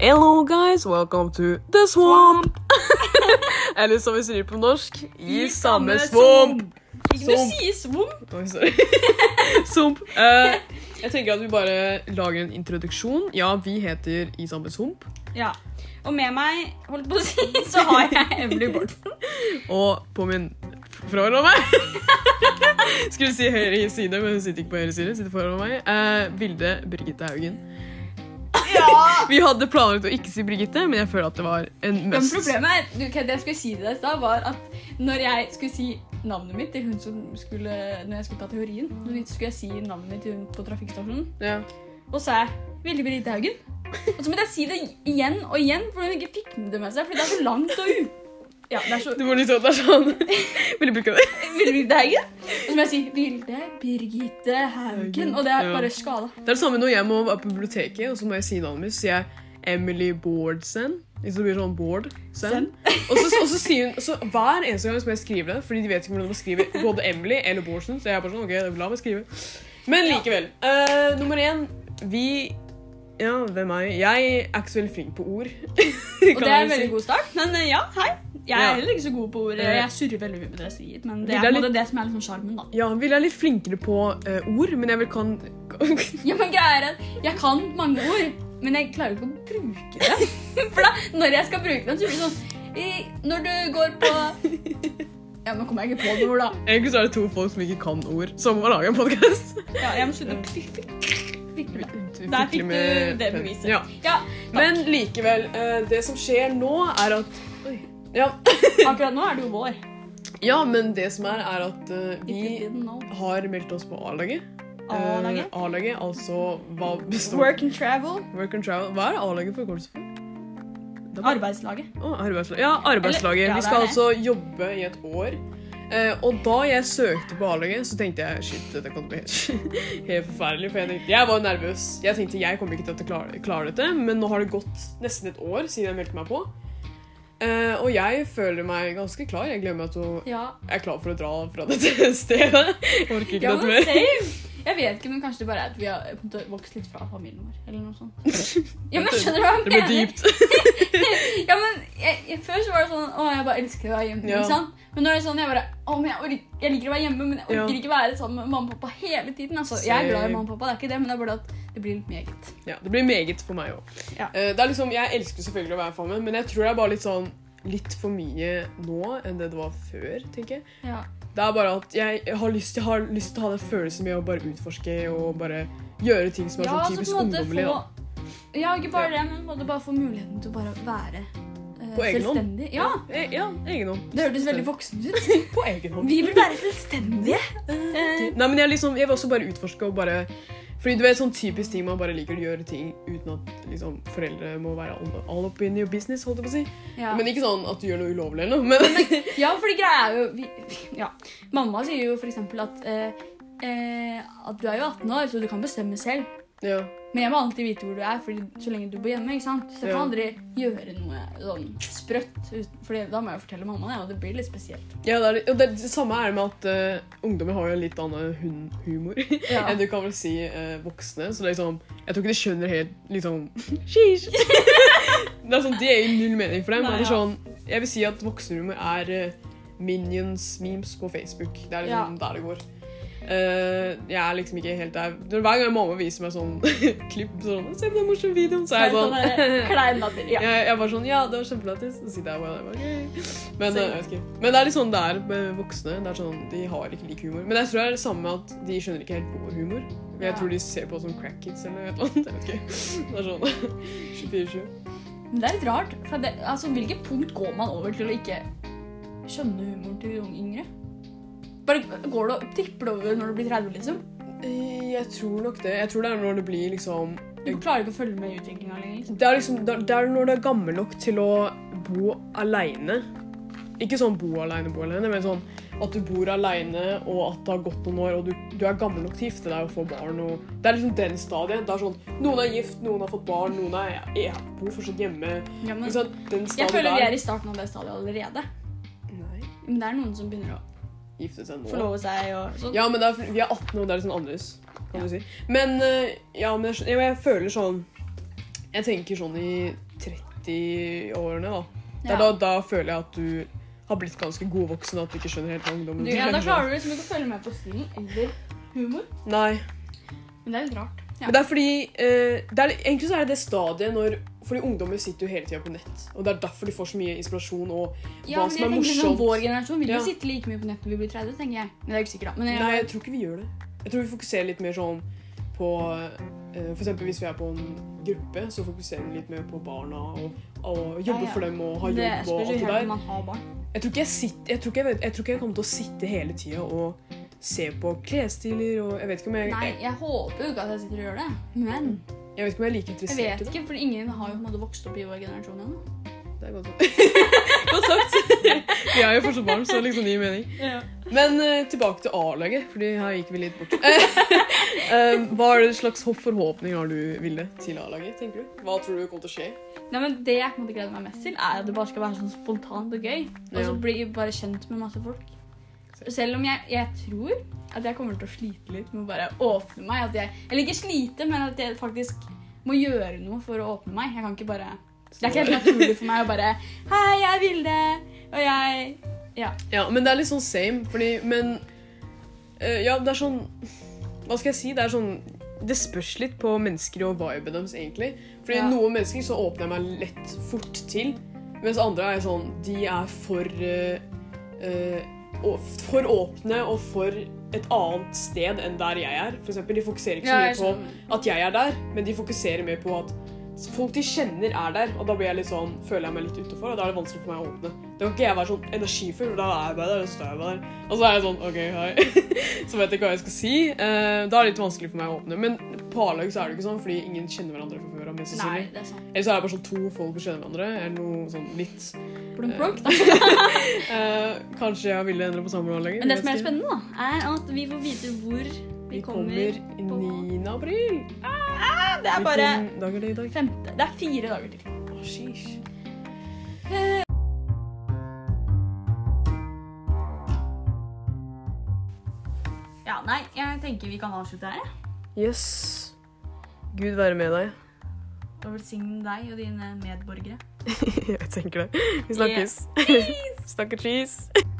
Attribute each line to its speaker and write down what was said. Speaker 1: Hello guys, welcome to the swamp! Eller som vi sier på norsk, i samme swamp!
Speaker 2: Ikke du
Speaker 1: Swamp.
Speaker 2: sier svomp.
Speaker 1: Oi, sorry. Swamp. Eh, jeg tenker at vi bare lager en introduksjon. Ja, vi heter i samme swamp.
Speaker 2: Ja. Og med meg, holdt på å si, så har jeg Emily Bortsen.
Speaker 1: Og på min foran meg Skulle si høyre side, men hun sitter ikke på høyre side. sitter foran meg. Eh, Vilde Birgitte Haugen.
Speaker 2: Ja!
Speaker 1: Vi hadde planlagt å ikke si Birgitte, men jeg føler at det var en
Speaker 2: Men
Speaker 1: must.
Speaker 2: problemet er, du, Ked, jeg skulle si til deg i stad, var at når jeg skulle si navnet mitt til hun som skulle Når jeg skulle ta teorien, så skulle jeg si navnet mitt til hun på trafikkstasjonen.
Speaker 1: Ja.
Speaker 2: Og så er Vilde Birgitte Haugen. Og så måtte jeg si det igjen og igjen, for hun ikke fikk det med seg. Fordi det er så langt og u... Ja, det er så
Speaker 1: Du må liksom det er sånn Ville bruke det.
Speaker 2: Vilde Birgitte Haugen. Og så må jeg si Vilde Birgitte Haugen. Og det er
Speaker 1: Ja.
Speaker 2: bare skala.
Speaker 1: Det er det samme når jeg må være på biblioteket, og så må jeg si navnet mitt. Så sier jeg Emily Bårdsen. Hvis det blir sånn Bårdsen.
Speaker 2: Sen.
Speaker 1: Og så, og så sier hun så Hver eneste gang så må jeg skrive det, fordi de vet ikke hvordan man skriver både Emily eller Bårdsen. Så jeg er bare sånn, ok, la meg skrive. Men likevel. eh, nummer én Vi Ja, hvem er jeg? Jeg er ikke så veldig flink på ord.
Speaker 2: Og det er en veldig god start. Men eh, ja, hei. Jeg
Speaker 1: Ja.
Speaker 2: er heller ikke så god på ord.
Speaker 1: Eh.
Speaker 2: Jeg surrer veldig mye på det jeg sier, men det
Speaker 1: Vil det
Speaker 2: er på
Speaker 1: er
Speaker 2: en måte det som er liksom sjarmen, da.
Speaker 1: Ja, Ville er litt flinkere på eh, ord, men jeg vil kan
Speaker 2: Ja, men greia er at jeg kan mange ord, men jeg klarer ikke å bruke det. For da, når jeg skal bruke dem, så blir det sånn i, Når du går på Ja, nå kommer jeg ikke på noe ord, da.
Speaker 1: Egentlig så er det to folk som ikke kan ord, som må lage en podkast.
Speaker 2: Ja, jeg må slutte å fikle med. Der fikk du det beviset.
Speaker 1: Ja.
Speaker 2: Ja,
Speaker 1: Men likevel, eh, det som skjer nå, er at Oi. ja.
Speaker 2: akkurat nå er det jo vår.
Speaker 1: ja, men det som er, er at eh,
Speaker 2: If you
Speaker 1: vi
Speaker 2: didn't know.
Speaker 1: har meldt oss på A-laget. Eh,
Speaker 2: A-laget?
Speaker 1: A-laget, altså hva består
Speaker 2: Work and travel.
Speaker 1: Work and travel. Hva er A-laget forkortelse for? Det er-
Speaker 2: Arbeidslaget.
Speaker 1: Å, arbeidslag. Ja, arbeidslaget.
Speaker 2: Eller-
Speaker 1: vi
Speaker 2: ja, det
Speaker 1: skal
Speaker 2: er det.
Speaker 1: altså jobbe i et år. Eh, og da jeg søkte på A-laget, så tenkte jeg shit, dette kommer til å bli helt, helt forferdelig. For jeg, tenkte, jeg var nervøs. Jeg tenkte jeg kommer ikke til å klare, klare dette, men nå har det gått nesten et år siden jeg meldte meg på. Eh, og jeg føler meg ganske klar. Jeg glemmer at hun
Speaker 2: Ja.
Speaker 1: er klar for å dra fra dette stedet. Jeg orker ikke
Speaker 2: Ja,
Speaker 1: dette
Speaker 2: men
Speaker 1: mer.
Speaker 2: same. Jeg vet ikke, men kanskje det bare er at vi har på en måte vokst litt fra familien vår. Eller noe sånt. Ja, men skjønner du hva jeg
Speaker 1: Det ble
Speaker 2: mener?
Speaker 1: dypt.
Speaker 2: Ja, men jeg, jeg, Før så var det sånn Å, jeg bare elsker å være hjemme.
Speaker 1: Ja.
Speaker 2: ikke sant? Men nå er det sånn jeg bare Å, men jeg, ork, jeg liker å være hjemme, men jeg
Speaker 1: Ja.
Speaker 2: orker ikke være sammen med mamma og pappa hele tiden. altså. Jeg er glad
Speaker 1: Same.
Speaker 2: i mamma og pappa, det er ikke det, men det er bare at det blir litt meget.
Speaker 1: Ja, det blir meget for meg òg.
Speaker 2: Ja.
Speaker 1: Det er liksom, jeg elsker selvfølgelig å være sammen, men jeg tror det er bare litt sånn litt for mye nå enn det det var før, tenker jeg.
Speaker 2: Ja.
Speaker 1: Det er bare at jeg har lyst, jeg har lyst til å ha den følelsen med å bare utforske og bare gjøre ting som er
Speaker 2: Ja,
Speaker 1: sånn
Speaker 2: altså,
Speaker 1: typisk
Speaker 2: på en måte
Speaker 1: ungdommelig. da.
Speaker 2: få Ja, ikke bare det, men på en måte bare få muligheten til å bare være eh,
Speaker 1: På egen hånd.
Speaker 2: selvstendig. Ja,
Speaker 1: E- Ja, egen hånd.
Speaker 2: Det hørtes veldig voksent ut.
Speaker 1: På egen hånd.
Speaker 2: Vi vil være selvstendige. Eh,
Speaker 1: Nei, men jeg, liksom, jeg vil også bare utforske og bare fordi du vet, sånn typisk ting man bare liker å gjøre ting uten at liksom, foreldre må være all, all up in your business, holdt jeg på å si.
Speaker 2: ja.
Speaker 1: Men ikke sånn at du gjør noe ulovlig eller noe, men
Speaker 2: Ja, for det greia er jo vi, ja. Mamma sier jo for eksempel at eh, eh, At du er jo 18 år, så du kan bestemme selv.
Speaker 1: ja.
Speaker 2: Men jeg må alltid vite hvor du er, fordi så lenge du bor hjemme. ikke sant? Så jeg
Speaker 1: Ja.
Speaker 2: kan aldri gjøre noe sånn sprøtt. ut- Fordi da må jeg jo fortelle mamma det, og det blir litt spesielt.
Speaker 1: Ja, det, er, litt- og det, det samme er det med at eh, ungdommer har jo en litt annen hun humor
Speaker 2: Ja.
Speaker 1: enn du kan vel si eh, voksne. Så det er liksom, jeg tror ikke de skjønner helt liksom Sheesh! det er sånn, Det er jo null mening for dem.
Speaker 2: Nei,
Speaker 1: men det er
Speaker 2: ja.
Speaker 1: sånn, jeg vil si at voksenhumor er eh, minions-memes på Facebook. Det er liksom der det går. Eh, jeg er liksom ikke helt der. Når Hver gang mamma viser meg sånn klipp, sånn, se på den morsomme videoen, så er jeg
Speaker 2: Sånn der,
Speaker 1: sånn
Speaker 2: Klein latter. Ja.
Speaker 1: jeg, jeg var sånn Ja, det var kjempelættis. Så sitter jeg bare der. Bare, ok. men,
Speaker 2: Så-
Speaker 1: eh, jeg vet ikke. men det er litt sånn det er med voksne. Det er sånn, De har ikke lik humor. Men jeg tror det er det samme med at de skjønner ikke helt vår humor. Men jeg
Speaker 2: Ja.
Speaker 1: tror de ser på oss som crack kids eller noe annet. Jeg vet ikke. Det er sånn 24-7.
Speaker 2: Men det er litt rart. For det, altså, Hvilket punkt går man over til å ikke skjønne humoren til unge yngre? Bare går det, Tipper det over når du blir 30, liksom?
Speaker 1: Eh, Jeg tror nok det. Jeg tror det er når det blir liksom
Speaker 2: Du klarer ikke å følge med i utviklinga lenger? liksom.
Speaker 1: Det er liksom Det er- det er når du er gammel nok til å bo aleine. Ikke sånn bo aleine, bo aleine, men sånn at du bor aleine, og at det har gått noen år, og du, du er gammel nok til å gifte deg og få barn. Og det er liksom den stadiet. Det er sånn Noen er gift, noen har fått barn, noen er, er bor fortsatt hjemme.
Speaker 2: Ja, men-
Speaker 1: Ikke sant? Den stadiet
Speaker 2: Jeg føler vi
Speaker 1: der.
Speaker 2: er i starten av det stadiet allerede.
Speaker 1: Nei.
Speaker 2: Men det er noen som begynner å
Speaker 1: Gifte seg nå.
Speaker 2: forlove seg og sånn.
Speaker 1: Ja, men det er, vi er 18 og det er litt sånn annerledes, kan du si. Men eh, ja, men jeg, skjønner- ja, men jeg føler sånn Jeg tenker sånn i 30-årene, da. Det
Speaker 2: Ja.
Speaker 1: er Da, da føler jeg at du har blitt ganske god voksen, at du ikke skjønner helt hva ungdommen
Speaker 2: Du, ja, da klarer du liksom ikke å følge med på stilen eller humor.
Speaker 1: Nei.
Speaker 2: Men det er litt rart. Ja.
Speaker 1: Men det er fordi eh, det er, Egentlig så er det det stadiet når Fordi ungdommer sitter jo hele tida på nett, og det er derfor de får så mye inspirasjon og
Speaker 2: Ja,
Speaker 1: hva
Speaker 2: men
Speaker 1: som
Speaker 2: jeg
Speaker 1: er
Speaker 2: tenker sånn,
Speaker 1: morsomt.
Speaker 2: Vår generasjon vil jo
Speaker 1: Ja.
Speaker 2: sitte like mye på nett når vi blir 30, tenker jeg. Men det er jo ikke sikkert, da. Men jeg,
Speaker 1: Nei, jeg tror ikke vi gjør det. Jeg tror vi fokuserer litt mer sånn på eh, For eksempel hvis vi er på en gruppe, så fokuserer vi litt mer på barna og, og
Speaker 2: Ja,
Speaker 1: jobber
Speaker 2: ja.
Speaker 1: for dem og har
Speaker 2: det
Speaker 1: jobb og
Speaker 2: spørs jo
Speaker 1: alt det
Speaker 2: helt
Speaker 1: der.
Speaker 2: om man har barn.
Speaker 1: Jeg tror ikke jeg, sitter, jeg, tror ikke jeg, vet, jeg, tror ikke jeg kommer til å sitte hele tida og se på klesstiler og Jeg vet ikke om jeg,
Speaker 2: Nei,
Speaker 1: jeg,
Speaker 2: jeg håper jo ikke at jeg sitter og gjør det. Men
Speaker 1: jeg, vet ikke om jeg er like
Speaker 2: jeg
Speaker 1: interessert
Speaker 2: vet
Speaker 1: i det.
Speaker 2: ikke, for ingen har jo på en måte vokst opp i vår generasjon ennå.
Speaker 1: Det er godt sagt. godt sagt. Vi er jo fortsatt barn, så liksom det gir mening. Men eh, tilbake til A-laget, Fordi her gikk vi litt bort. Eh, hva er det slags hopp- forhåpning har du, Vilde, til A-laget? tenker du? Hva tror du kommer til å skje?
Speaker 2: Nei, men Det jeg på en måte gleder meg mest til, er at det bare skal være sånn spontant og gøy. Og
Speaker 1: Ja.
Speaker 2: så bli bare kjent med masse folk. Selv om jeg, jeg tror at jeg kommer til å slite litt med å bare åpne meg. At jeg, eller ikke slite, men at jeg faktisk må gjøre noe for å åpne meg. Jeg kan ikke bare Det er ikke helt naturlig for meg å bare Hei, jeg er Vilde, og jeg
Speaker 1: Ja, men det er litt sånn same, fordi Men eh, Ja, det er sånn Hva skal jeg si? Det er sånn Det spørs litt på mennesker og vibet deres, egentlig. Fordi
Speaker 2: Ja.
Speaker 1: noen mennesker så åpner jeg meg lett fort til, mens andre er sånn De er for eh, eh, å- For åpne og for et annet sted enn der jeg er. For eksempel, de fokuserer ikke så mye på at jeg er der, men de fokuserer mer på at folk de kjenner er der, og da blir jeg litt sånn, føler jeg meg litt utenfor, og da er det vanskelig for meg å åpne. Da kan ikke jeg være sånn energifull, for da er jeg bare der, og står jeg bare der. Og så er jeg sånn, ok, hei. så vet jeg ikke hva jeg skal si. Eh, da er det litt vanskelig for meg å åpne. Men på A-lag så er det ikke sånn, fordi ingen kjenner hverandre fra før av, mest
Speaker 2: Nei,
Speaker 1: sannsynlig.
Speaker 2: det er sant.
Speaker 1: Eller så er det bare sånn to folk som kjenner hverandre, eller noe sånn litt.
Speaker 2: Blunk, blunk, da.
Speaker 1: Eh, kanskje jeg ville endre på sammenhengen.
Speaker 2: Men det som er spennende, da, er at vi får vite hvor vi
Speaker 1: Vi kommer
Speaker 2: kommer.
Speaker 1: i 9. april.
Speaker 2: Det er bare
Speaker 1: Hvilken dag er det i dag?
Speaker 2: femte Det er fire dager til.
Speaker 1: Å, sheesh.
Speaker 2: Ja, nei, jeg tenker vi kan avslutte her. jeg.
Speaker 1: Yes. Gud være med deg.
Speaker 2: Og velsigne deg og dine medborgere.
Speaker 1: Jeg tenker det. Vi snakkes. Snakker cheese.